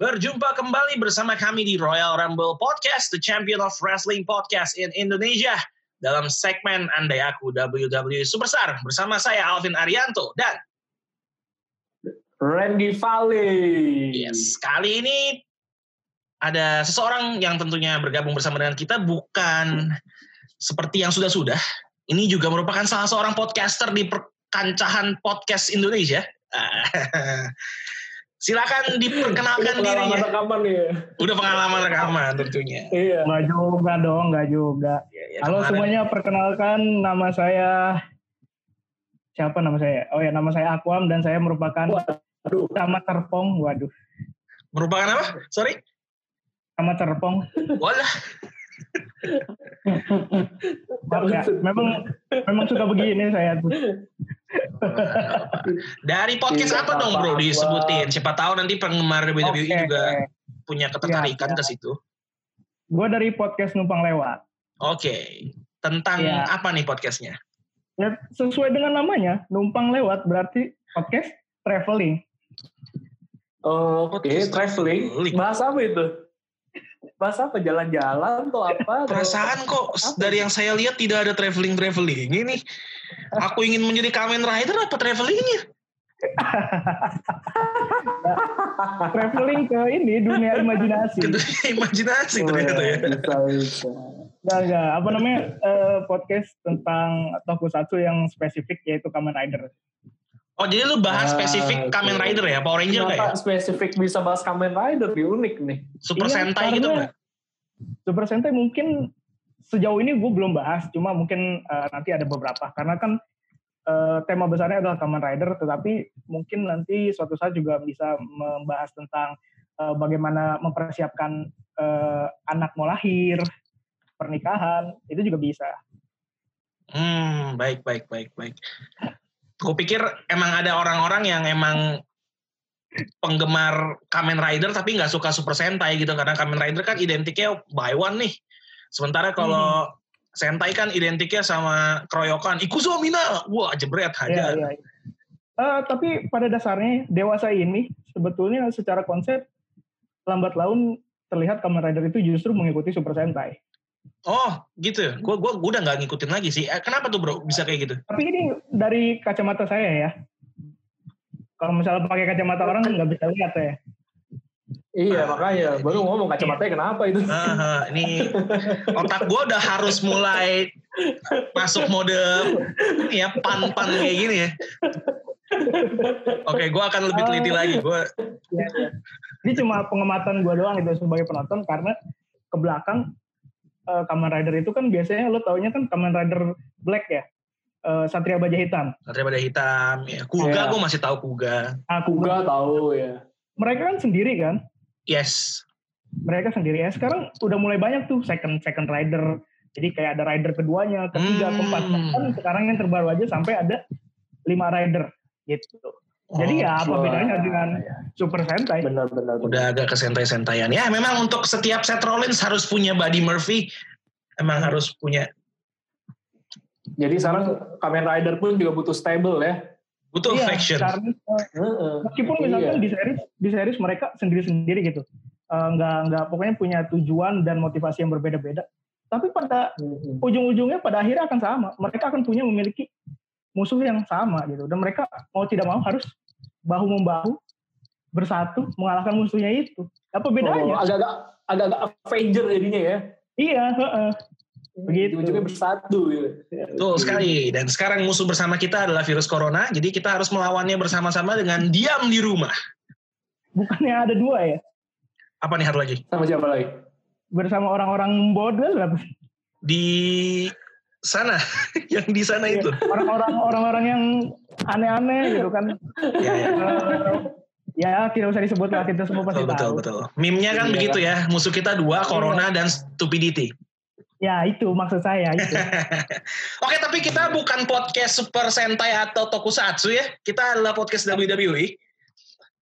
Berjumpa kembali bersama kami di Royal Rumble Podcast, the champion of wrestling podcast in Indonesia. Dalam segmen Andai Aku WWE Superstar bersama saya Alvin Arianto dan Randy Hmm. Valley. yes, kali ini ada seseorang yang tentunya bergabung bersama dengan kita bukan seperti yang sudah-sudah. Ini juga merupakan salah seorang podcaster di perkancahan podcast Indonesia. Ah. Silakan diperkenalkan Ini pengalaman dirinya. rekaman ya. Udah pengalaman rekaman tentunya. Iya. Enggak juga dong, enggak juga. Ya, ya, Halo kemarin. semuanya, perkenalkan nama saya siapa nama saya? Oh ya, nama saya Akwam dan saya merupakan Waduh. sama Terpong. Waduh, Merupakan apa? Sorry. sama Terpong. Walah, Maaf ya, memang memang suka begini saya tuh. dari podcast Tidak apa dong bro apa-apa. disebutin? Siapa tahu nanti penggemar WWE Oke. juga punya ketertarikan Iya, ke situ. Gua dari podcast numpang lewat. Oke. Tentang Iya. apa nih podcastnya? Ya, sesuai dengan namanya, numpang lewat berarti podcast traveling. Oke, traveling. Traveling. Bahas apa itu? Bahas apa? Jalan-jalan atau apa? Perasaan kok Apa? dari yang saya lihat tidak ada traveling traveling ini. Aku ingin menjadi Kamen Rider apa travelingnya? Traveling ke ini dunia imajinasi. Gitu, Imajinasi ternyata ya. Bisa, bisa. Enggak, enggak. Apa namanya? eh, podcast tentang tokusatsu yang spesifik yaitu Kamen Rider. Oh jadi lu bahas Ah, spesifik Kamen oke. Iya, Rider ya, Power Ranger nggak ya? Kenapa spesifik bisa bahas Kamen Rider? Di unik nih. Super Iya, Sentai gitu karena- nggak? Super Sentai mungkin sejauh ini gue belum bahas, cuma mungkin eh, nanti ada beberapa. Karena kan eh, tema besarnya adalah Kamen Rider, tetapi mungkin nanti suatu saat juga bisa membahas tentang eh, bagaimana mempersiapkan eh, anak mau lahir, pernikahan, itu juga bisa. Hmm, baik, baik, baik, baik. Gue pikir emang ada orang-orang yang emang penggemar Kamen Rider tapi nggak suka Super Sentai gitu karena Kamen Rider kan identiknya buy one nih. Sementara kalau Sentai kan identiknya sama keroyokan. Ikuzo Mina, wah jebret Iya, aja. iya. Eh, tapi pada dasarnya dewasa ini sebetulnya secara konsep lambat laun terlihat Kamen Rider itu justru mengikuti Super Sentai. Oh, gitu. Gue gua, gua udah nggak ngikutin lagi sih. Eh, Kenapa tuh bro bisa kayak gitu? Tapi ini dari kacamata saya ya. Kalau misalnya pakai kacamata orang nggak bisa lihat ya. Iya, makanya. Baru ngomong kacamatanya kenapa itu. Ah, ini otak gue udah harus mulai masuk mode ini ya pan-pan kayak gini ya. Oke, gue akan lebih Ah. teliti lagi. Gue Iya, iya. Ini cuma pengamatan gue doang itu sebagai penonton karena ke belakang eh, Kamen Rider itu kan biasanya lo taunya kan Kamen Rider Black ya. Eh, Satria Baja Hitam. daripada hitam, ya. kuga Iya. gue masih tahu kuga. Aku Juga tahu ya. Nah, mereka kan sendiri kan. Yes, mereka sendiri ya sekarang udah mulai banyak tuh second second rider jadi kayak ada rider keduanya ketiga Hmm. keempat bahkan sekarang yang terbaru aja sampai ada lima rider gitu jadi ya apa Wah, bedanya dengan iya. super sentai Benar, benar, benar. Oh, udah agak kesentai sentaian ya. Memang untuk setiap Seth Rollins harus punya Buddy Murphy. Emang harus punya Jadi sekarang Kamen Rider pun juga butuh stable ya. Iya. butuh Iya, faction. karena eh, meskipun misalkan di series di series mereka sendiri sendiri gitu Eh, nggak nggak pokoknya punya tujuan dan motivasi yang berbeda-beda tapi pada ujung-ujungnya pada akhirnya akan sama mereka akan punya memiliki musuh yang sama gitu dan mereka mau tidak mau harus bahu membahu bersatu mengalahkan musuhnya itu apa Oh, bedanya agak-agak agak-agak Avenger jadinya ya. iya heeh. Begitu. Ujungnya bersatu gitu. Betul sekali. Dan sekarang musuh bersama kita adalah virus corona. Jadi kita harus melawannya bersama-sama dengan diam di rumah. bukannya ada dua ya Apa nih satu lagi? Sama siapa lagi? bersama orang-orang bodoh lah. Di sana, yang di sana Nah, Iya. itu. orang-orang orang-orang yang aneh-aneh gitu kan Ya, ya. Eh, ya tidak usah disebut lah kita semua pasti Betul, betul, tahu Iya. betul. Meme-nya kan Iya. begitu ya. Musuh kita dua, corona dan stupidity. ya itu maksud saya itu Oke, tapi Iya. kita bukan podcast Super Sentai atau Tokusatsu ya. Kita adalah podcast WWE.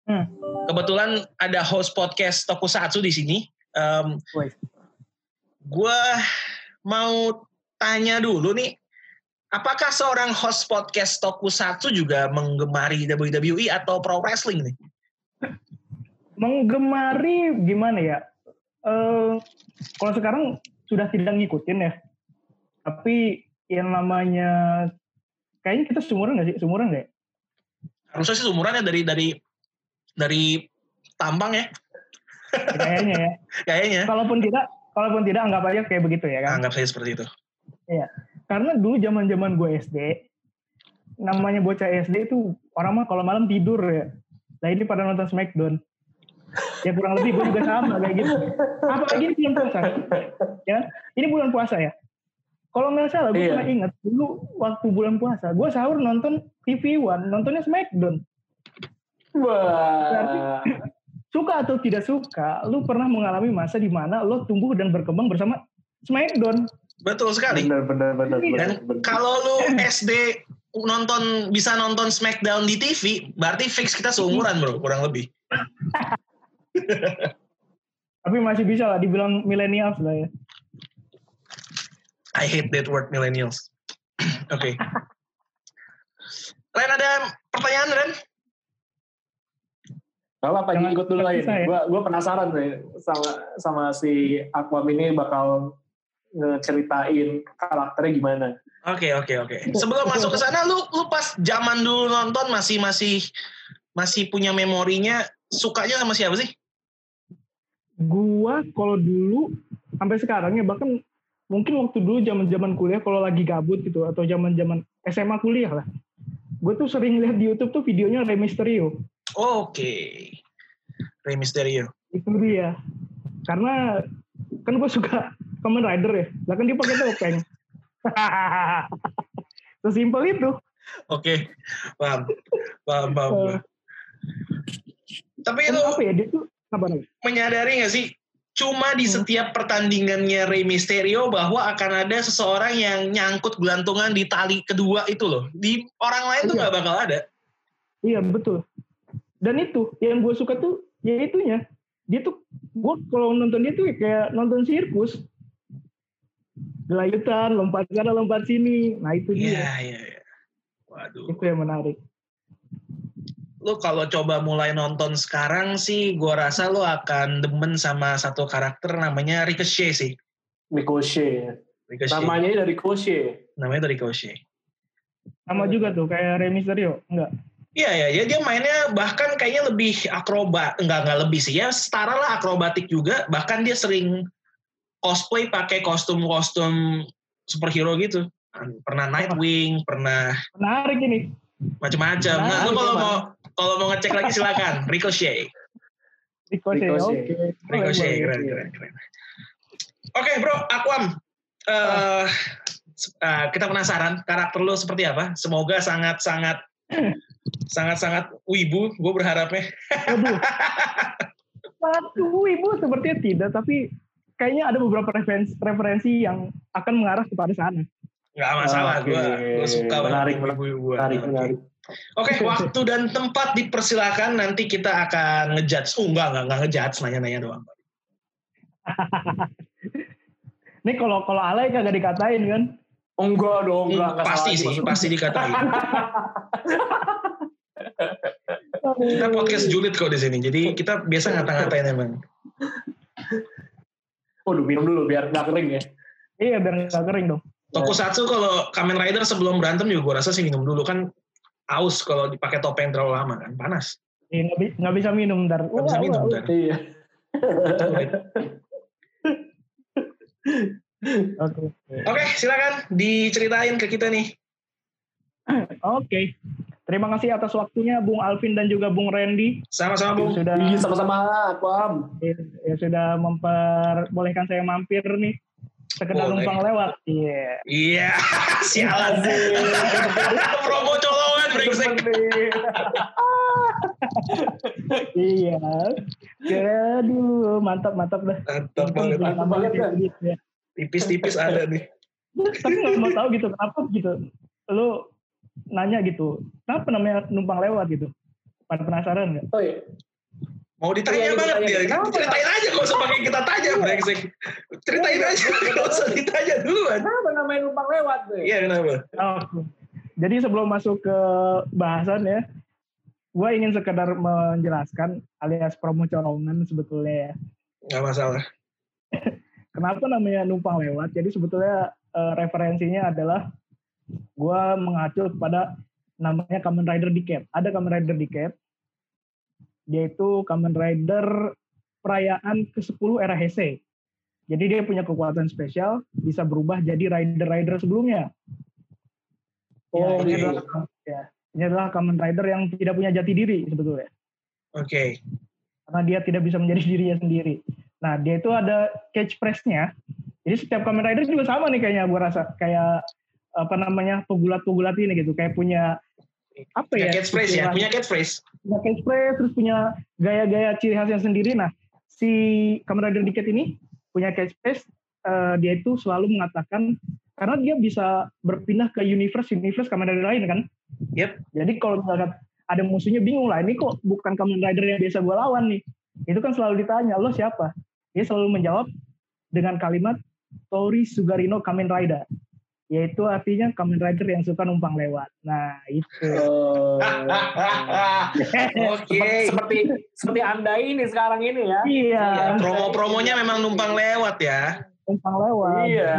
Hmm. Kebetulan ada host podcast Tokusatsu di sini. Em, Woi. Gua mau tanya dulu nih, apakah seorang host podcast E Tokusatsu juga menggemari WWE atau pro wrestling nih? menggemari gimana ya? Eh, kalau sekarang sudah tidak ngikutin ya. Tapi yang namanya kayaknya kita seumuran nggak sih? Seumuran nggak? ya? Harusnya sih umurannya dari dari dari tampang ya Kayaknya ya. kayaknya. Kalaupun tidak, kalaupun tidak anggap aja kayak begitu ya kan. Anggap saja seperti itu. Karena dulu zaman-zaman gue SD, namanya bocah SD itu orang mah kalau malam tidur ya. Nah ini pada nonton Smackdown. Ya kurang lebih gue juga sama kayak gitu. Apalagi ini bulan puasa. Ya, ini bulan puasa ya. Kalau nggak salah, gue Iya. pernah ingat dulu waktu bulan puasa, gue sahur nonton TV One, nontonnya Smackdown. Wah. Suka atau tidak suka, lu pernah mengalami masa di mana lo tumbuh dan berkembang bersama Smackdown. Betul sekali. Bener, bener, bener. bener, Dan bener. kalau lu SD nonton bisa nonton Smackdown di TV, berarti fix kita seumuran bro, kurang lebih. tapi masih bisa lah dibilang milenials lah ya. I hate that word millennials. Oke. Ren ada pertanyaan Ren? Gak apa-apa, Jangan ikut dulu aja. terpisah ya. Gue gua penasaran nih sama, sama si Aquam ini bakal ngeceritain karakternya gimana. Oke oke oke. Sebelum masuk ke sana, lu lu pas zaman dulu nonton masih masih masih punya memorinya sukanya sama siapa sih? Gua kalau dulu sampai sekarang ya bahkan mungkin waktu dulu zaman-zaman kuliah kalau lagi gabut gitu atau zaman-zaman SMA kuliah lah. Gue tuh sering lihat di YouTube tuh videonya Rey Mysterio. Oke. Rey Mysterio. Itu dia. Karena kan gue suka Kamen Rider ya. Lah kan dia pakai topeng. Sesimpel itu. Oke. Paham. Paham, paham. paham. Tapi Kan lu apa ya dia tuh apa namanya? menyadari gak sih cuma di Hmm. setiap pertandingannya Rey Mysterio bahwa akan ada seseorang yang nyangkut gelantungan di tali kedua itu loh. Di orang lain tuh Iya. nggak bakal ada. Iya betul. Dan itu yang gue suka tuh ya itunya. Dia tuh gue kalau nonton dia tuh ya kayak nonton sirkus. Gelayutan, lompat sana, lompat sini. Nah itu Iya, iya, iya. Waduh. dia. Itu yang menarik. Lu kalau coba mulai nonton sekarang sih gua rasa lu akan demen sama satu karakter namanya Ricochet sih. Ricochet. Ricochet. Namanya, Namanya dari Ricochet. namanya tuh Ricochet. Sama juga tuh kayak Rey Mysterio. Enggak. Iya ya, jadi dia mainnya bahkan kayaknya lebih akrobat, enggak enggak lebih sih ya, setara lah akrobatik juga. Bahkan dia sering cosplay pakai kostum-kostum superhero gitu. Pernah Nightwing, pernah Menarik ini. macam-macam. Nah, lu Menarik, kalau Bang. mau kalau mau ngecek lagi silakan. Ricochet, Ricochet. Ricochet. Oke. Boleh, Ricochet, boleh. iya. keren, keren, keren. Oke bro, Aquam. Eh, se- eh, kita penasaran karakter lu seperti apa. Semoga sangat-sangat Hmm. sangat-sangat wibu. Gue berharapnya. Waduh. Waduh, ibu sepertinya tidak. Tapi kayaknya ada beberapa referensi, referensi yang akan mengarah kepada sana. Gak masalah, Oke. gue suka Menarik, banget ibu-ibuan. Menarik, Oke. menarik. Oke, waktu dan tempat dipersilakan. Nanti kita akan ngejudge. Oh, enggak, enggak, enggak ngejudge. Nanya-nanya doang. Ini kalau kalau alay kagak dikatain kan. Enggak dong, enggak. enggak pasti salah sih, dimaksud. pasti dikatain. kita podcast julid kok di sini. Jadi kita biasa ngata-ngatain emang. Waduh, minum dulu biar nggak kering ya. Iya biar nggak kering dong. Tokusatsu kalau Kamen Rider sebelum berantem juga gue rasa sih minum dulu kan aus kalau dipakai topeng terlalu lama kan panas. Iya, nggak bi- nggak bisa minum ntar. Gak bisa Wah, minum wah, kan. Iya. wah. Oke. Oke, silakan diceritain ke kita nih. Oke. Terima kasih atas waktunya Bung Alvin dan juga Bung Randy Sama-sama Bung. yang sudah Iya, sama-sama, Aquam. ya, sudah memperbolehkan saya mampir nih sekedar Boleh. numpang lewat. Iya. Iya, sialan. Promo colongan brengsek. Iya. Aduh, mantap mantap dah. Iya, Mantap banget. Mantap banget, kan? Gitu ya. Tipis-tipis ada nih. Tapi nggak mau tahu gitu kenapa gitu. Lu nanya gitu, kenapa namanya numpang lewat gitu? Pada penasaran nggak? Oh iya. Mau ditanya Iya, banget ditanya. dia. Kenapa? Iya. Ceritain aja kok sebagai kita tanya, brengsek. Ceritain aja, nggak usah ditanya duluan. Kenapa namanya numpang lewat? Be? Iya, kenapa? Oh, jadi sebelum masuk ke bahasan ya, gue ingin sekedar menjelaskan alias promo corongan sebetulnya ya. Gak masalah. Kenapa namanya numpang lewat? Jadi sebetulnya eh, referensinya adalah gue mengacu kepada namanya Kamen Rider Decade. Ada Kamen Rider Decade, yaitu Kamen Rider perayaan ke-10 era Heisei. Jadi dia punya kekuatan spesial, bisa berubah jadi rider-rider sebelumnya. Oh, Ya, ini, oke. adalah, ya, ini adalah Kamen Rider yang tidak punya jati diri sebetulnya Oh, iya. Oke. karena dia tidak bisa menjadi dirinya sendiri. Nah, dia itu ada catchphrase-nya. Jadi setiap Kamen Rider juga sama nih kayaknya gue rasa kayak apa namanya pegulat-pegulat ini gitu, kayak punya apa Punya ya? catchphrase ya, Iya. istilah- punya catchphrase. punya catchphrase, terus punya gaya-gaya ciri khasnya sendiri. Nah, si Kamen Rider Dikit ini punya catchphrase, eh, dia itu selalu mengatakan karena dia bisa berpindah ke universe universe Kamen Rider lain kan. Yep. Jadi kalau misalkan ada musuhnya bingung lah, ini kok bukan Kamen Rider yang biasa gue lawan nih. Itu kan selalu ditanya, lo siapa? Dia selalu menjawab dengan kalimat Tori Sugarino Kamen Rider. Yaitu artinya Kamen Rider yang suka numpang lewat. Nah, itu. Ah, Seperti, Oke. seperti seperti anda ini sekarang ini ya. Iya. Promo-promonya memang numpang lewat ya. numpang lewat. Iya.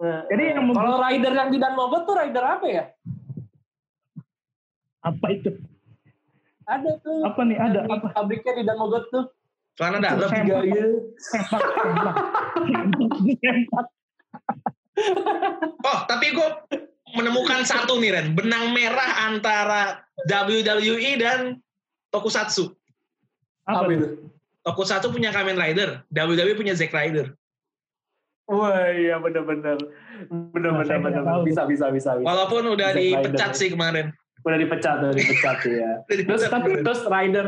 Nah, Jadi yang mem- kalau rider yang tidak novel tuh rider apa ya? apa itu? Ada tuh. Apa nih? Ada Yang di apa? Pabriknya di Damogot tuh. Karena dalam. Saya- Tiga ya. Sempak, sempak. Sempak. Oh, tapi gue menemukan satu nih Ren, benang merah antara WWE dan Tokusatsu. Apa Apa tuh? itu? Tokusatsu punya Kamen Rider, WWE punya Zack Rider. Wah iya benar-benar, benar-benar, Nah, saya benar tidak tahu. bisa bisa bisa bisa. Walaupun udah Zack dipecat Ryder. sih kemarin. Udah dipecat, udah dipecat ya. Udah Terus dipecat tapi kemarin. terus rider,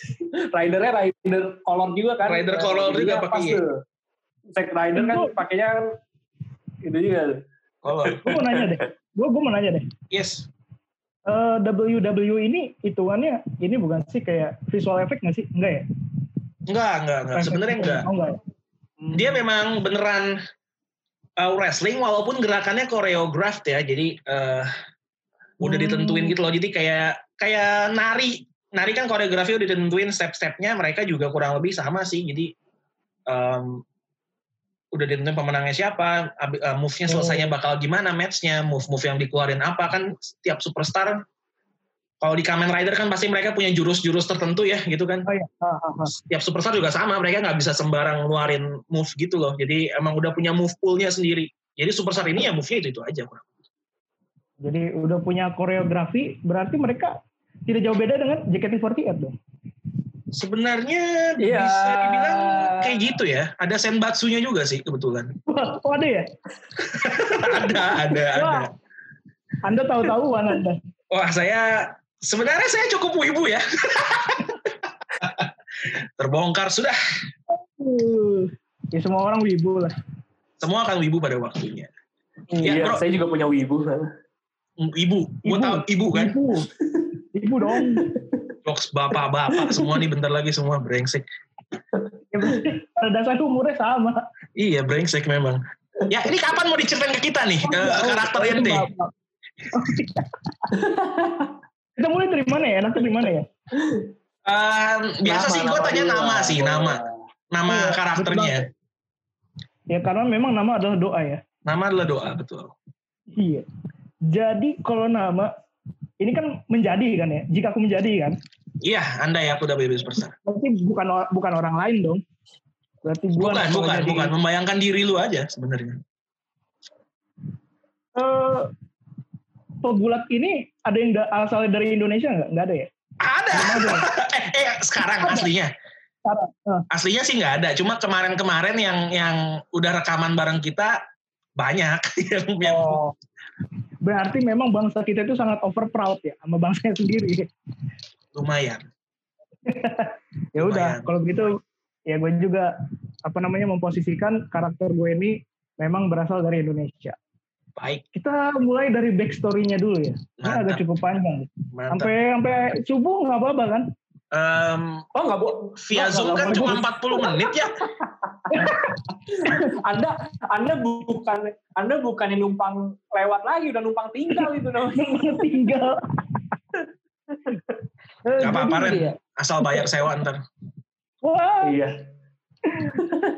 ridernya rider color juga kan? Rider color juga Iya, pas pakai. tuh. Zack rider kan Itu- pakainya kan itu juga. tuh. Kalau Gue mau nanya deh. Gue gue mau nanya deh. yes, Eh, WWE ini hitungannya ini bukan sih kayak visual effect nggak sih? Enggak ya? enggak enggak enggak. Nah, Sebenarnya enggak. Oh, enggak. ya? Dia memang beneran uh, wrestling walaupun gerakannya koreograf ya. Jadi eh, udah Hmm. ditentuin gitu loh. Jadi kayak kayak nari. Nari kan koreografi udah ditentuin step-stepnya. Mereka juga kurang lebih sama sih. Jadi em, udah ditentuin pemenangnya siapa, abi- eh, move-nya selesainya bakal gimana, match-nya, move-move yang dikeluarin apa kan setiap superstar kalau di Kamen Rider kan pasti mereka punya jurus-jurus tertentu ya gitu kan Oh iya. Ah, ah, ah. tiap superstar juga sama mereka nggak bisa sembarang ngeluarin move gitu loh jadi emang udah punya move poolnya sendiri jadi superstar ini ya move-nya itu itu aja kurang. Jadi udah punya koreografi, berarti mereka tidak jauh beda dengan JKT48 dong. sebenarnya Iya. bisa dibilang kayak gitu ya ada senbatsunya juga sih kebetulan Wah, oh ada ya? ada ada ada Wah. Anda tahu-tahuan Anda. wah saya sebenarnya saya cukup wibu ya terbongkar sudah Uh, ya semua orang wibu lah. semua akan wibu pada waktunya Iya, Ya, bro. saya juga punya wibu. ibu gua Ibu. tahu ibu kan Wibu. Wibu dong. jokes bapak-bapak semua nih bentar lagi semua brengsek Ya, berarti pada dasarnya umurnya sama. Iya brengsek memang. Ya ini kapan mau diceritain ke kita nih Oh, eh, iya. karakter ente? Bapak. Oh, iya. Kita mulai dari mana ya? Nanti dari mana ya? Eh, biasa Nama- sih gue nama tanya dia. nama sih nama nama Iya, karakternya. Ya karena memang nama adalah doa ya. Nama adalah doa betul. Iya. Jadi kalau nama ini kan menjadi kan ya. Jika aku menjadi kan, Iya anda ya aku udah bebas besar. berarti bukan or- bukan orang lain dong. Berarti gua Bukan nama kan? bukan jadi- bukan membayangkan diri lu aja sebenarnya. Eh, pegulat ini ada yang da- asalnya dari Indonesia nggak? Nggak ada ya? Ada. Belum ada. eh, eh, sekarang aslinya Sekarang, eh. aslinya sih nggak ada. Cuma kemarin-kemarin yang yang udah rekaman bareng kita banyak yang, yang Oh. Berarti memang bangsa kita itu sangat over proud ya sama bangsanya sendiri. lumayan. Lumayan. Ya udah, kalau begitu ya gue juga apa namanya memposisikan karakter gue ini memang berasal dari Indonesia. Baik Kita mulai dari backstory-nya dulu ya. Ini agak mantap cukup panjang. mantap. Sampai sampai subuh nggak apa-apa kan? Em, Oh nggak bu, via Oh, Zoom nggak kan boleh. cuma 40 menit ya. Anda Anda bukan Anda bukan yang numpang gitu lewat lagi, udah numpang tinggal itu namanya. tinggal. Gak apa-apa Ren, ya? asal bayar sewa ntar. Wah, Iya.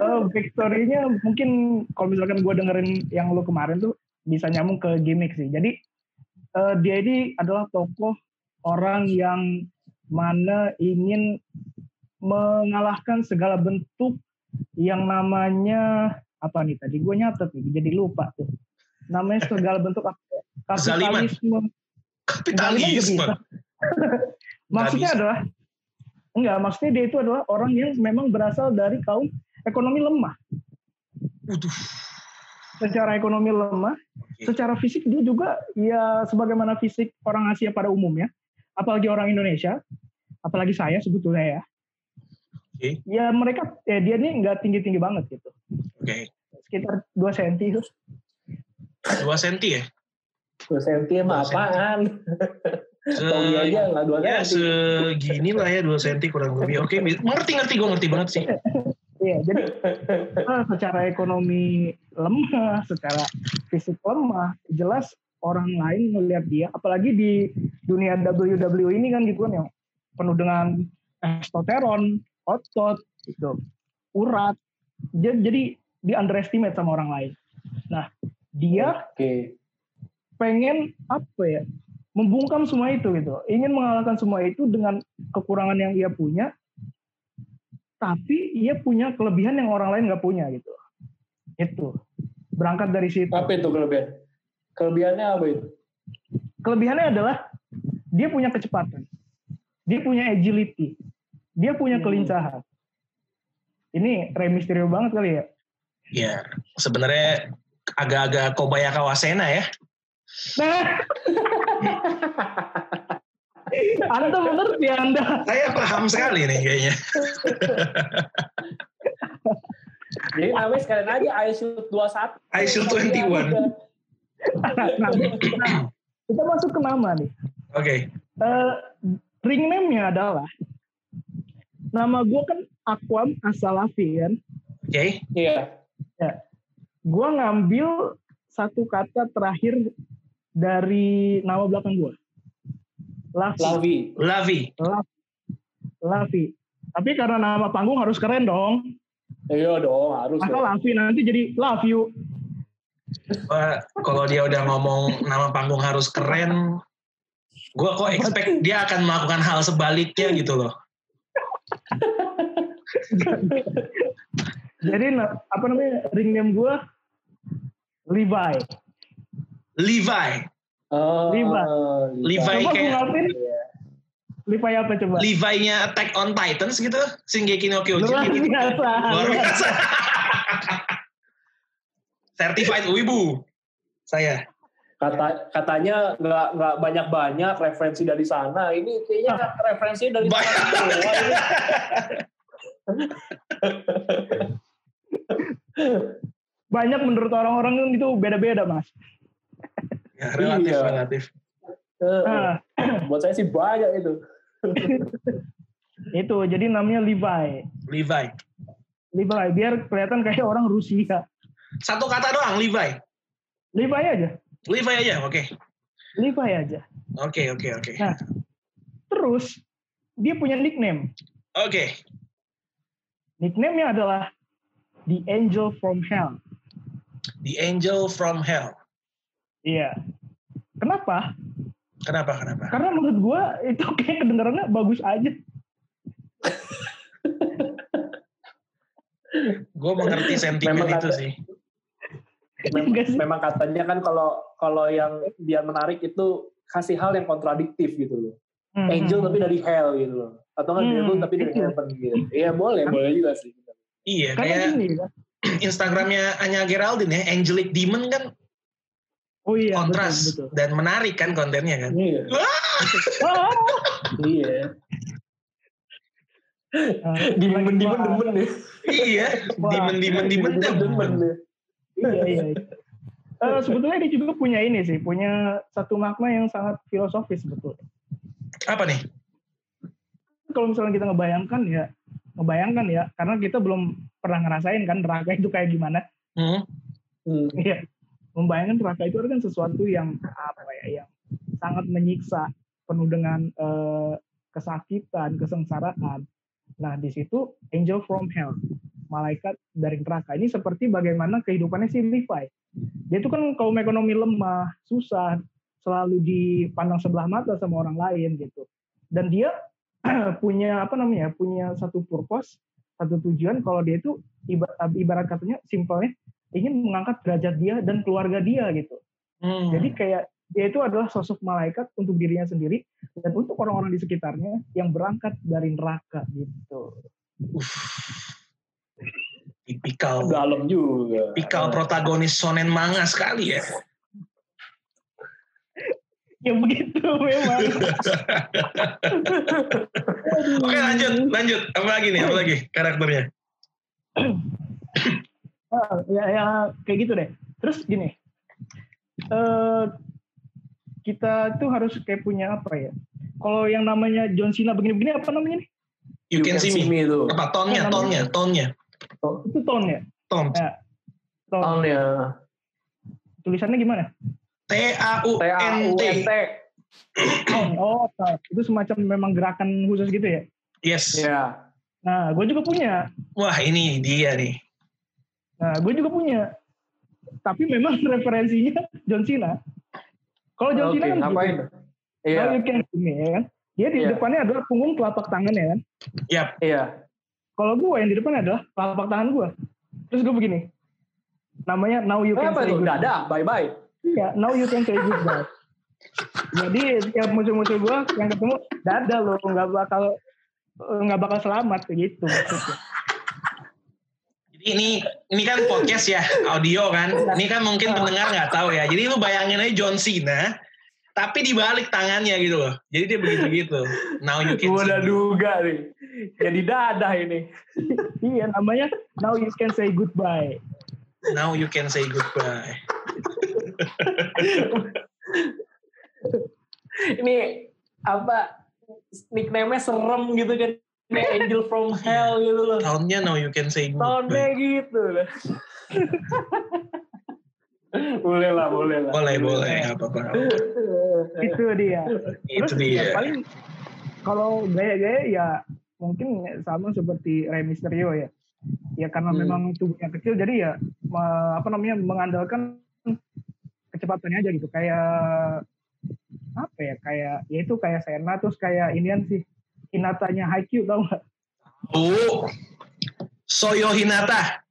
eh, victory-nya mungkin kalau misalkan gue dengerin yang lu kemarin tuh bisa nyambung ke gimmick sih. Jadi eh, dia ini adalah tokoh orang yang mana ingin mengalahkan segala bentuk yang namanya apa nih tadi gue nyatet nih jadi lupa tuh namanya segala bentuk apa ya? Kezaliman. kapitalisme Kapitalisme. ya? Nggak maksudnya bisa. adalah enggak maksudnya dia itu adalah orang yang memang berasal dari kaum ekonomi lemah Waduh. secara ekonomi lemah Oke. secara fisik dia juga ya sebagaimana fisik orang Asia pada umumnya apalagi orang Indonesia apalagi saya sebetulnya ya Oke. ya mereka ya dia nih nggak tinggi tinggi banget gitu Oke. sekitar 2 cm itu Dua senti ya? Dua senti Dua mah senti. apaan? Se Tommy aja nggak dua ya senti. segini lah ya dua senti kurang lebih. Oke, mi- ngerti ngerti gue ngerti banget sih. Iya, jadi eh, secara ekonomi lemah, secara fisik lemah, jelas orang lain melihat dia, apalagi di dunia WWE ini kan gitu kan yang penuh dengan testosteron, otot, gitu, urat, jadi, jadi di underestimate sama orang lain. Nah, dia Iya. Oke. pengen apa ya? Membungkam semua itu gitu, ingin mengalahkan semua itu dengan kekurangan yang ia punya, tapi ia punya kelebihan yang orang lain nggak punya gitu. Itu berangkat dari situ. Apa itu kelebihan? Kelebihannya apa itu? Kelebihannya adalah dia punya kecepatan, dia punya agility, dia punya Hmm. kelincahan. Ini Rey Mysterio banget kali ya. Ya, sebenarnya agak-agak Kobaya Kawasena ya. Nah, Anda mengerti Anda. Saya paham sekali nih kayaknya. Jadi namanya sekalian aja I shoot 21. I shoot 21. Nah, nah, kita masuk ke nama nih. Oke. Eh, ring name-nya adalah nama gue kan Akwam Asalafi kan. Oke. Iya. Gue ngambil satu kata terakhir dari nama belakang gue. Lavi. Lavi. Lavi. Lavi. Lavi. Tapi karena nama panggung harus keren dong. Iya dong harus. Masa dong. Lavi nanti jadi Love You. Gua- eh, Kalau dia udah ngomong nama panggung harus keren, gue kok expect dia akan melakukan hal sebaliknya gitu loh. Jadi na- apa namanya ring name gue Levi. Levi. Oh, Levi. Levi Coba gue kayak- ngapin Iya. Levi apa coba? Levi-nya Attack on Titans gitu. Shingeki no Kyojin. Luar gitu. biasa. Luar biasa. Certified Wibu. Saya. Kata katanya nggak nggak banyak banyak referensi dari sana. Ini kayaknya referensi dari Banyak sana. semua. Ini Banyak menurut orang-orang itu beda-beda mas. Ya, relatif, Iya. relatif. Eh, Nah, buat saya sih banyak itu. itu jadi namanya Levi. Levi. Levi biar kelihatan kayak orang Rusia. Satu kata doang, Levi. Levi aja, Levi aja, oke. Levi aja. Oke, oke, oke. Nah, terus dia punya nickname. Oke. Nickname-nya adalah The Angel from Hell. The Angel from Hell. Iya. Kenapa? Kenapa, kenapa? Karena menurut gua itu kayak kedengarannya bagus aja. Gue mengerti sentimen Memang itu kata- sih. Mem- Nggak sih? memang katanya kan kalau kalau yang dia menarik itu kasih hal yang kontradiktif gitu loh. Angel tapi dari hell gitu loh. Atau kan Hmm, devil tapi dari itu. heaven gitu. Iya boleh, boleh juga sih. Iya, Karena kayak gini kan. Instagramnya Anya Geraldine ya, Angelic Demon kan Oh iya. betul, kontras betul. dan menarik kan kontennya kan. Iya. Ah, Iya. ah. Demen demen demen deh. iya, Wah. Demon, Demon, Demon. Demen demen deh. iya iya. iya. Eh, sebetulnya dia juga punya ini sih, punya satu makna yang sangat filosofis sebetulnya. Apa nih? Kalau misalnya kita ngebayangkan ya, ngebayangkan ya, karena kita belum pernah ngerasain kan neraka itu kayak gimana. Hmm. Hmm. Iya. Membayangkan neraka itu kan sesuatu yang apa ya, yang sangat menyiksa, penuh dengan eh, kesakitan, kesengsaraan. Nah, di situ angel from hell, malaikat dari neraka. Ini seperti bagaimana kehidupannya si Levi. Dia itu kan kaum ekonomi lemah, susah, selalu dipandang sebelah mata sama orang lain gitu. Dan dia punya apa namanya? punya satu purpose, satu tujuan kalau dia itu ibarat katanya simpelnya ingin mengangkat derajat dia dan keluarga dia gitu. Hmm. Jadi kayak dia itu adalah sosok malaikat untuk dirinya sendiri dan untuk orang-orang di sekitarnya yang berangkat dari neraka gitu. Uff. Tipikal, Dalam juga. tipikal protagonis sonen manga sekali ya. Ya begitu memang. Oke lanjut, lanjut. Apa lagi nih? Apa lagi karakternya? Ah, ya, ya kayak gitu deh. Terus gini, eh kita tuh harus kayak punya apa ya? Kalau yang namanya John Cena begini-begini apa namanya nih? You, can, see me. itu. Apa tonnya? Apa Tonnya? Tonnya? namanya? Itu tone ya? Tom. Tone. Tahun ya. Tulisannya gimana? T A U T A U N T. N T. Tone. Oh, tone. itu semacam memang gerakan khusus gitu ya. Yes. Ya. Nah, gue juga punya. Wah ini dia nih. Nah, gue juga punya. Tapi memang referensinya John Cena. Kalau Oke, John Cena kan ngapain? gitu. Iya, Now you can see me, ya kan? Dia di Iya. depannya adalah punggung telapak tangan ya kan? Yap. iya. Kalau gue yang di depan adalah telapak tangan gue. Terus gue begini. Namanya Now You Can Apa Say itu? Goodbye. Dadah, bye-bye. Iya, Now You Can Say Goodbye. Jadi setiap musuh-musuh gue yang ketemu, dadah lo nggak bakal nggak bakal selamat kayak gitu. maksudnya. Jadi ini ini kan podcast ya, audio kan. Ini kan mungkin pendengar nggak tahu ya. Jadi lu bayangin aja John Cena, tapi di balik tangannya gitu loh. Jadi dia begitu gitu. Now you can Gue see udah me. duga nih. Jadi dadah ini. iya, namanya Now You Can Say Goodbye. Now you can say goodbye. ini apa nickname-nya serem gitu kan Ini Angel from Hell gitu loh Tahunnya now you can say tone goodbye. gitu loh boleh lah boleh lah Boleh boleh apa apa. Itu dia. Itu ya dia. paling kalau gaya-gaya ya mungkin sama seperti Rey Mysterio ya. Ya karena Hmm. memang tubuhnya kecil jadi ya me- apa namanya mengandalkan kecepatannya aja gitu kayak apa ya kayak ya itu kayak Sena terus kayak inian sih Hinatanya Haikyuu tau gak? Oh. Soyo Hinata.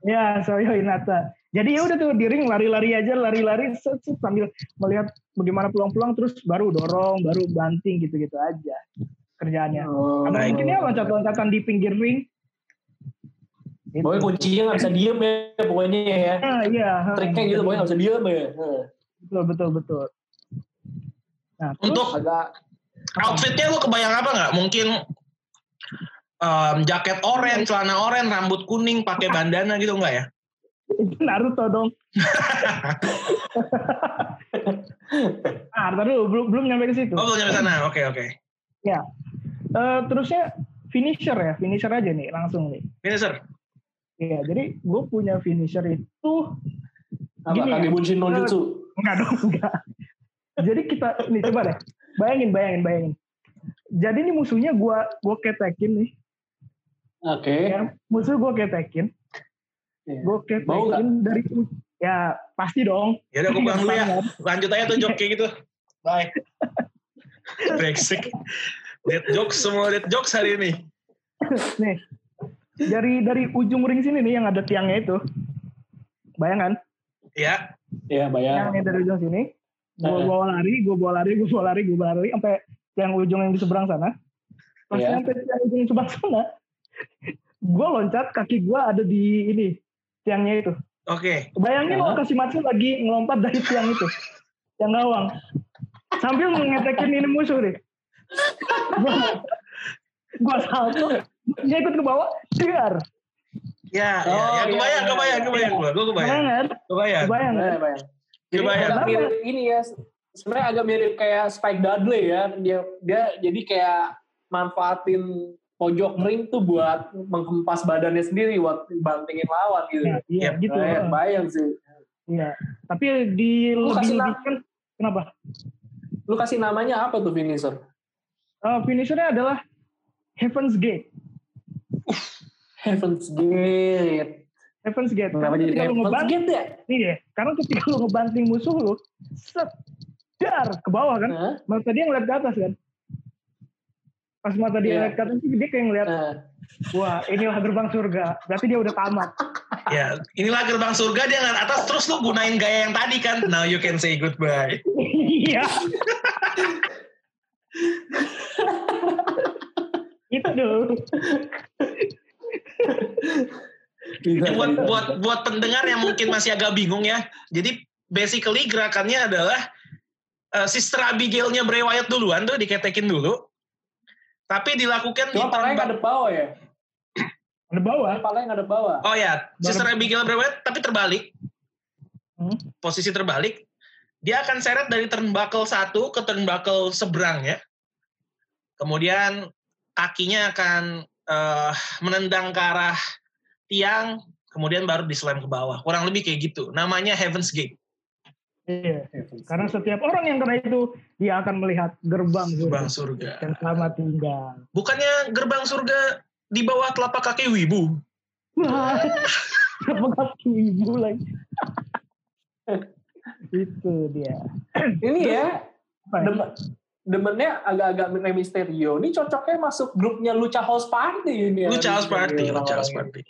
Ya, Soyo Hinata. Jadi ya udah tuh di ring lari-lari aja, lari-lari set, set, sambil melihat bagaimana peluang-peluang terus baru dorong, baru banting gitu-gitu aja kerjaannya. Oh. Sama mungkin ya loncat-loncatan di pinggir ring. Gitu. pokoknya kuncinya nggak bisa diem ya pokoknya ya Nah, iya. ha. triknya gitu pokoknya nggak bisa diem ya Betul, betul, betul. Nah, terus Untuk agak outfitnya lu kebayang apa nggak? Mungkin em, jaket oranye, celana oranye, rambut kuning, pakai bandana gitu nggak ya? itu Naruto dong. ah, ntar dulu, belum belum nyampe ke situ. Oh belum nyampe sana. Oke oke. Eh, terusnya finisher ya, finisher aja nih langsung nih. Finisher. Iya, jadi gue punya finisher itu apa Gini ya. kaki buncin gitu. no jutsu enggak dong, enggak. Jadi kita nih coba deh. Bayangin, bayangin, bayangin. Jadi ini musuhnya gua gua ketekin nih. oke Ya, musuh gua ketekin. Iya. Gua Bau nggak? ketekin dari u- ya pasti dong. Kan? Ya udah gue pulang dulu ya. Tangan. Lanjut aja tuh joke kayak gitu. Bye. Brexit. Dead jokes semua dead jokes hari ini. Nih. Dari dari ujung ring sini nih yang ada tiangnya itu. Bayangan, Ya. ya bayang tiangnya dari ujung sini. Gua Eh. bawa lari, gua bawa lari, gua bawa lari, gua bawa lari sampai yang ujung yang di seberang sana. Pas Iya. nyampe tiang ujung sebelah sana, gue loncat, kaki gue ada di ini, tiangnya itu. Oke. Bayangin Hah? lo Kashimatsu lagi ngelompat dari tiang itu, tiang gawang. Sambil mengetekin ini musuh deh. Gue salto, dia ikut ke bawah, cegar. Ya, ya, ya, kebayang, Oh, iya, kebayang, iya. kebayang gue, gue kebayang, Bayangin, kebayang, bayangin. Bayang, bayang. Iya, Iya, Jadi Kebayang. agak mirip ini ya. Sebenarnya agak mirip kayak Spike Dudley ya. Dia dia jadi kayak manfaatin pojok ring tuh buat menghempas badannya sendiri buat bantingin lawan gitu. Iya, iya, Yep. gitu. Bayang, bayang sih. Iya. Tapi di Lu kasih lebih-lebihkan, kenapa? Lu kasih namanya apa tuh finisher? Eh, finishernya adalah Heaven's Gate. Heaven's Gate. Heaven's Gate. Kenapa Karena jadi ketika lu Heaven's ngebanting, Gate ya? iya. Karena ketika lu ngebanting musuh lu, set, dar, ke bawah kan. Hah? Mata dia ngeliat ke atas kan. Pas mata dia Iya. ngeliat ke atas, dia kayak ngeliat, Nah, wah inilah gerbang surga. Berarti dia udah tamat. Ya, inilah gerbang surga dia nggak atas terus lu gunain gaya yang tadi kan. Now you can say goodbye. Iya. Itu dong. bisa, Jadi buat bisa. buat buat pendengar yang mungkin masih agak bingung ya. Jadi basically gerakannya adalah eh, Sister Abigail-nya Bray Wyatt duluan tuh diketekin dulu. Tapi dilakukan Cuma palanya ditambah- nggak ada bawah ya? Ada bawah. Palanya nggak ada bawah. Oh ya, Sister Abigail Bray Wyatt tapi terbalik. Hmm. Posisi terbalik. Dia akan seret dari turnbuckle satu ke turnbuckle seberangnya. Kemudian kakinya akan eh, menendang ke arah tiang, kemudian baru dislam ke bawah. Kurang lebih kayak gitu. Namanya Heaven's Gate. Iya. Heaven's Karena Gate. setiap orang yang kena itu, dia akan melihat gerbang gerbang surga. surga. Dan selamat tinggal. Bukannya gerbang surga di bawah telapak kaki wibu? Wah. Kenapa kaki ibu lagi? itu dia. ini ya Apa ya? dem- demennya agak-agak Rey Mysterio. Ini cocoknya masuk grupnya Lucha House Party ini ya. Iya, Lu Charles Party, lu Charles Orang-orang Party.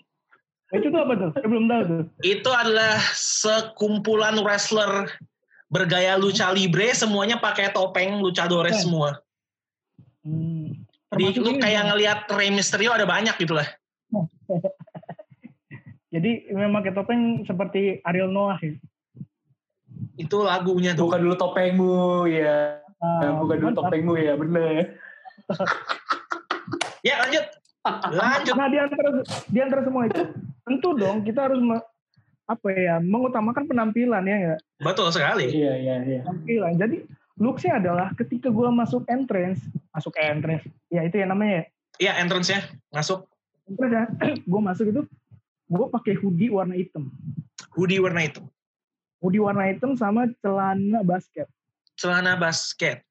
ya? Itu tuh apa tuh? Saya belum tahu tuh. Itu adalah sekumpulan wrestler bergaya lucha libre, semuanya pakai topeng luchadores Eh, semua. Hmm. Jadi Termasuk lu ini, kan. kayak Bang. ngelihat Rey Mysterio ada banyak gitu lah. Jadi memang pakai topeng seperti Ariel Noah ya. Itu lagunya ini. tuh. Buka dulu topengmu ya. Ah, Buka dulu mantap. topengmu ya, bener. Ya lanjut. Lanjut. Nah di antara di antara semua itu tentu dong kita harus me- apa ya mengutamakan penampilan ya nggak? Betul sekali. Iya, iya, iya. penampilan. Jadi looksnya adalah ketika gua masuk entrance, masuk entrance, ya itu yang namanya ya, Iya entrance-nya masuk entrance ya. gue masuk itu gue pakai hoodie warna hitam, hoodie warna itu. hoodie warna hitam sama celana basket Celana basket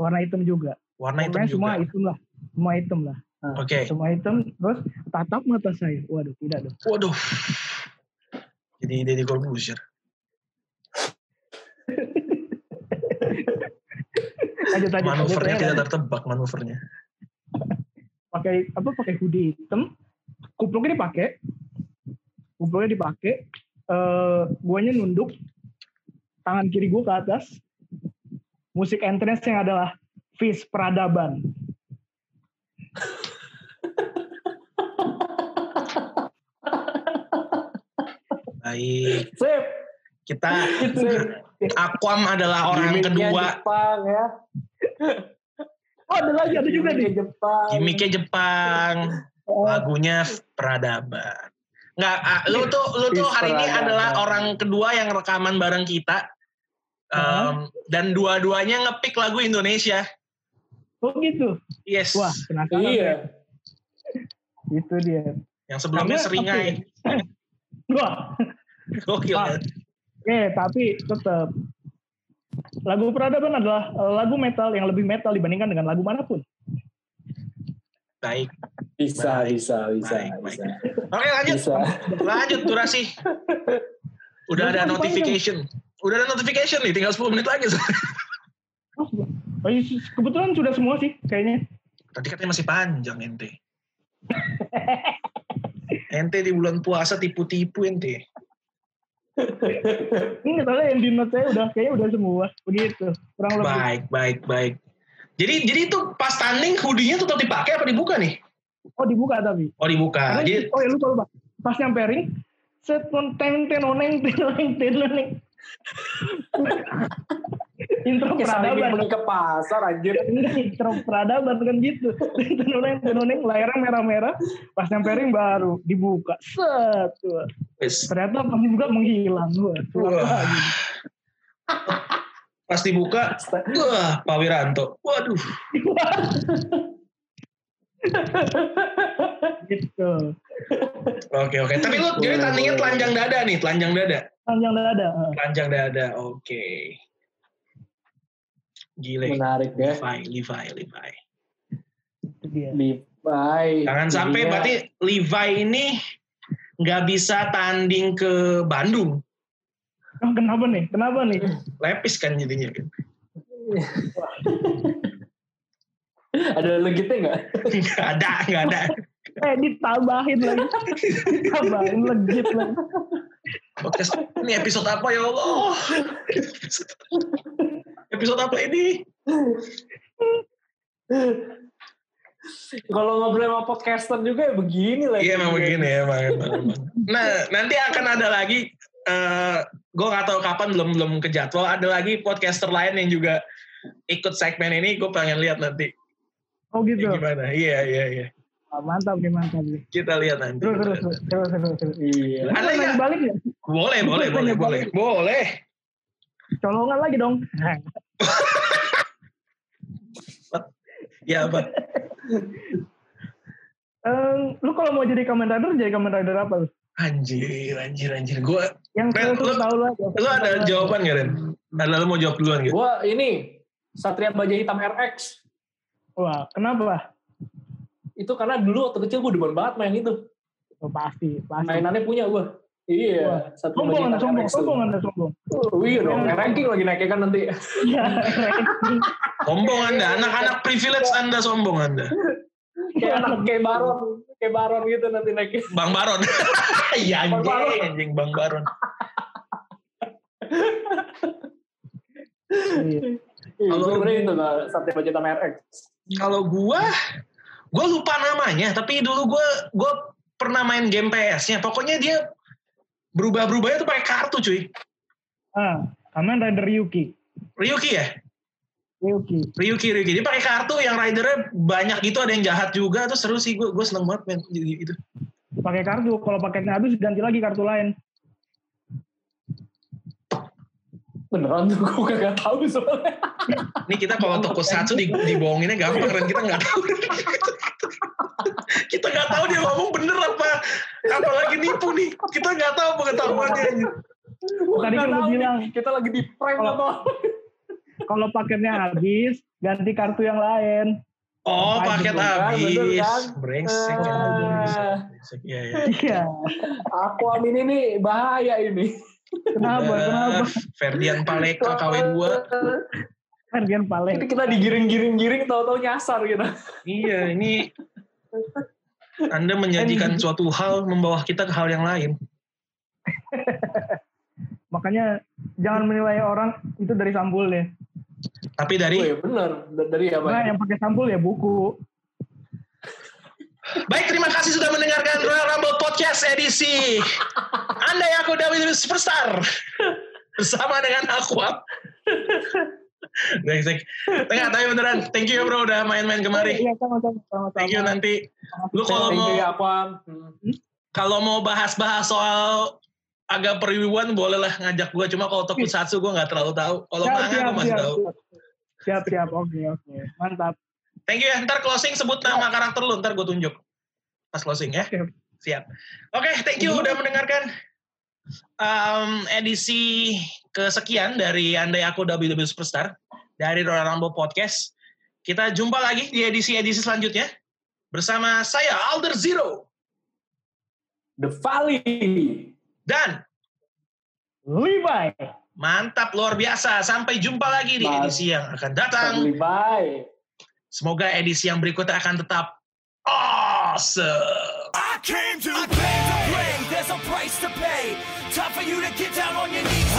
warna hitam juga. warna Pokoknya hitam semua juga. Eh. hitam lah, semua hitam lah, Oke. semua hitam. Terus tatap mata saya, waduh tidak dong. Waduh. Jadi Deddy Corbuzier. Lanjut lanjut. Manuvernya Saya tidak tertebak manuvernya. pakai apa pakai hoodie hitam kupluknya dipakai kupluknya dipakai eh guanya nunduk tangan kiri gua ke atas musik entrance yang adalah Fis Peradaban Baik, Sip. kita Itu. Aquam adalah orang Gimiknya kedua. Jepang ya. oh ada lagi ada juga nih Gimiknya Jepang. Ah, Gimiknya Jepang, lagunya peradaban. Nggak, ah, lu tuh lu tuh Peace hari ini peradaban. adalah orang kedua yang rekaman bareng kita. Um, dan dua-duanya ngepick lagu Indonesia. oh gitu Yes. wah penasaran Iya. saya. itu dia Yang sebelumnya Karena- seringai. wah Gokil. Ah. kan? eh tapi tetap lagu peradaban adalah eh, lagu metal yang lebih metal dibandingkan dengan lagu manapun Baik. Bisa, bisa, bisa, Baik, baik. bisa. Oke, lanjut. Bisa. Lanjut durasi. Udah ada Jangan notification. Udah ada notification nih, tinggal 10 menit lagi. oh, kebetulan sudah semua sih kayaknya Tadi katanya masih panjang ente. ente di bulan puasa tipu-tipu ente. Ini Iya, soalnya yang di note saya udah kayaknya udah semua begitu kurang lebih. Baik, baik, baik. Jadi jadi itu pas tanding hoodie-nya tetap dipakai apa dibuka nih? Oh dibuka tapi. Oh dibuka. Karena- Jadi oh ya lupa lupa. Pas nyampe ring, set pun teng ten oneng ten oneng ten oneng. intro Kayak saling peradaban. pergi ke pasar anjir. Enggak, intro peradaban kan gitu. Ten oneng ten oneng layarnya merah-merah. Pas nyampe ring baru dibuka. Set. wah. wes. Ternyata pas dibuka menghilang. Wah, keluar Wah. lagi. pas dibuka, wah, Pak Wiranto. Waduh, gitu. oke oke. Tapi lu jadi tandingnya telanjang dada nih, telanjang dada, Panjang dada. eh. telanjang dada. Oke. Gile, Menarik ya. Levi, Levi, Levi. Itu dia. Levi. Jangan sampai Iya. berarti Levi ini nggak bisa tanding ke Bandung. Oh, kenapa nih? Kenapa nih? Lepis kan jadinya. kan. ada legitnya nggak? Nggak ada, nggak ada. Eh, ditambahin lagi. ditambahin legit lagi. Podcast ini episode apa ya Allah? episode apa ini? Kalau ngobrol sama podcaster juga ya begini lah. Iya memang begini ya, emang, emang, emang. Nah nanti akan ada lagi. eh gue nggak tahu kapan belum belum ke jadwal. Ada lagi podcaster lain yang juga ikut segmen ini. Gue pengen lihat nanti Oh gitu. ya, gimana. Iya iya iya. Ah, mantap nih, mantap nih. Kita lihat nanti. Terus, terus, terus, terus, terus, terus. Ada Iya. Ada nggak? yang balik ya? Boleh boleh boleh boleh boleh. Colongan lagi dong. Ya apa? Eh, lu kalau mau jadi Kamen Rider, jadi Kamen Rider apa? lu? Anjir anjir anjir. Gue Yang Ren, seratus lu- tahun lagi. lu ada jawaban nggak Ren? Ada lu mau jawab duluan gitu? Gue ini Satria Baja Hitam RX Wah, kenapa? itu karena dulu waktu kecil gue demen banget main itu. Oh, pasti, pasti. Mainannya punya gue. Iya. Satria Sombong anda, sombong, tuh. sombong anda, sombong. Oh, Iya dong. Ranking lagi naiknya kan nanti. Iya, Sombong anda, anak-anak privilege anda sombong anda. kayak anak kayak baron kayak baron gitu nanti naiknya Bang Baron. Iya Bang Baron. anjing, anjing Bang Baron. Iya. Kalau- Kalau itu itu nggak Satria Baja Hitam RX. Kalau gua, gua lupa namanya, tapi dulu gua gua pernah main game PS-nya. Pokoknya dia berubah-berubahnya tuh pakai kartu, cuy. Ah, Kamen Rider Yuki. Ryuki ya? Yuki. Ryuki, Ryuki. Dia pakai kartu yang ridernya banyak gitu, ada yang jahat juga. Terus seru sih, gue seneng banget main gitu. Pakai kartu, kalau paketnya habis ganti lagi kartu lain. Beneran tuh gue kagak tahu soalnya. Ini kita kalau tokusatsu di, dibohonginnya gampang, Ren. Kita nggak tahu. kita nggak tahu dia ngomong bener apa. Apalagi nipu nih. Kita nggak tahu pengetahuannya. anjir. Gua Tadi nggak kan lu tahu nih, bilang. kita lagi di prank Kalau- apa? Kalau paketnya habis, ganti kartu yang lain. Oh, paket Bener kan, habis. bener kan? Brengsek. emang brengsek, brengsek. Iya, iya. Iya. Aku amin ini bahaya ini. Kenapa? Udah, Kenapa? Ferdian Paleka KW2. Ferdian Eh, Ini Palek. kita digiring-giring-giring tahu-tahu nyasar gitu. Iya, ini anda menjadikan suatu hal membawa kita ke hal yang lain. Makanya jangan menilai orang itu dari sampulnya. Tapi Oh dari iya bener D- dari apa? Nah, ya? yang pakai sampul ya buku. Baik, terima kasih sudah mendengarkan Royal Rumble Podcast edisi. Anda yang aku WWE Superstar. Bersama dengan aku. Ab. Brengsek. Tengah, tapi beneran. Thank you bro udah main-main kemari. Iya, sama-sama. sama-sama. Thank you nanti. Lu kalau Thank mau you ya Apam. Hmm. kalau mau bahas-bahas soal agak periwiwan bolehlah ngajak gua cuma kalau tokusatsu gua nggak terlalu tahu. Kalau Siap, manga siap, gua masih siap. tahu. Siap, siap. Oke, oke. Mantap. Thank you ya. Ntar closing sebut nama karakter lu. Ntar gue tunjuk. Pas closing ya. Oke. Siap. Oke, thank you udah mendengarkan. Um, edisi kesekian dari Andai Aku WWE Superstar. Dari Royal Rumble Podcast. Kita jumpa lagi di edisi-edisi selanjutnya. Bersama saya Alder Zero. The Valley. Dan Levi. mantap luar biasa. Sampai jumpa lagi di Mantap. edisi yang akan datang. Valley bye. Semoga edisi yang berikutnya akan tetap awesome. I came to play. There's a price to pay. Time for you to get down on your knees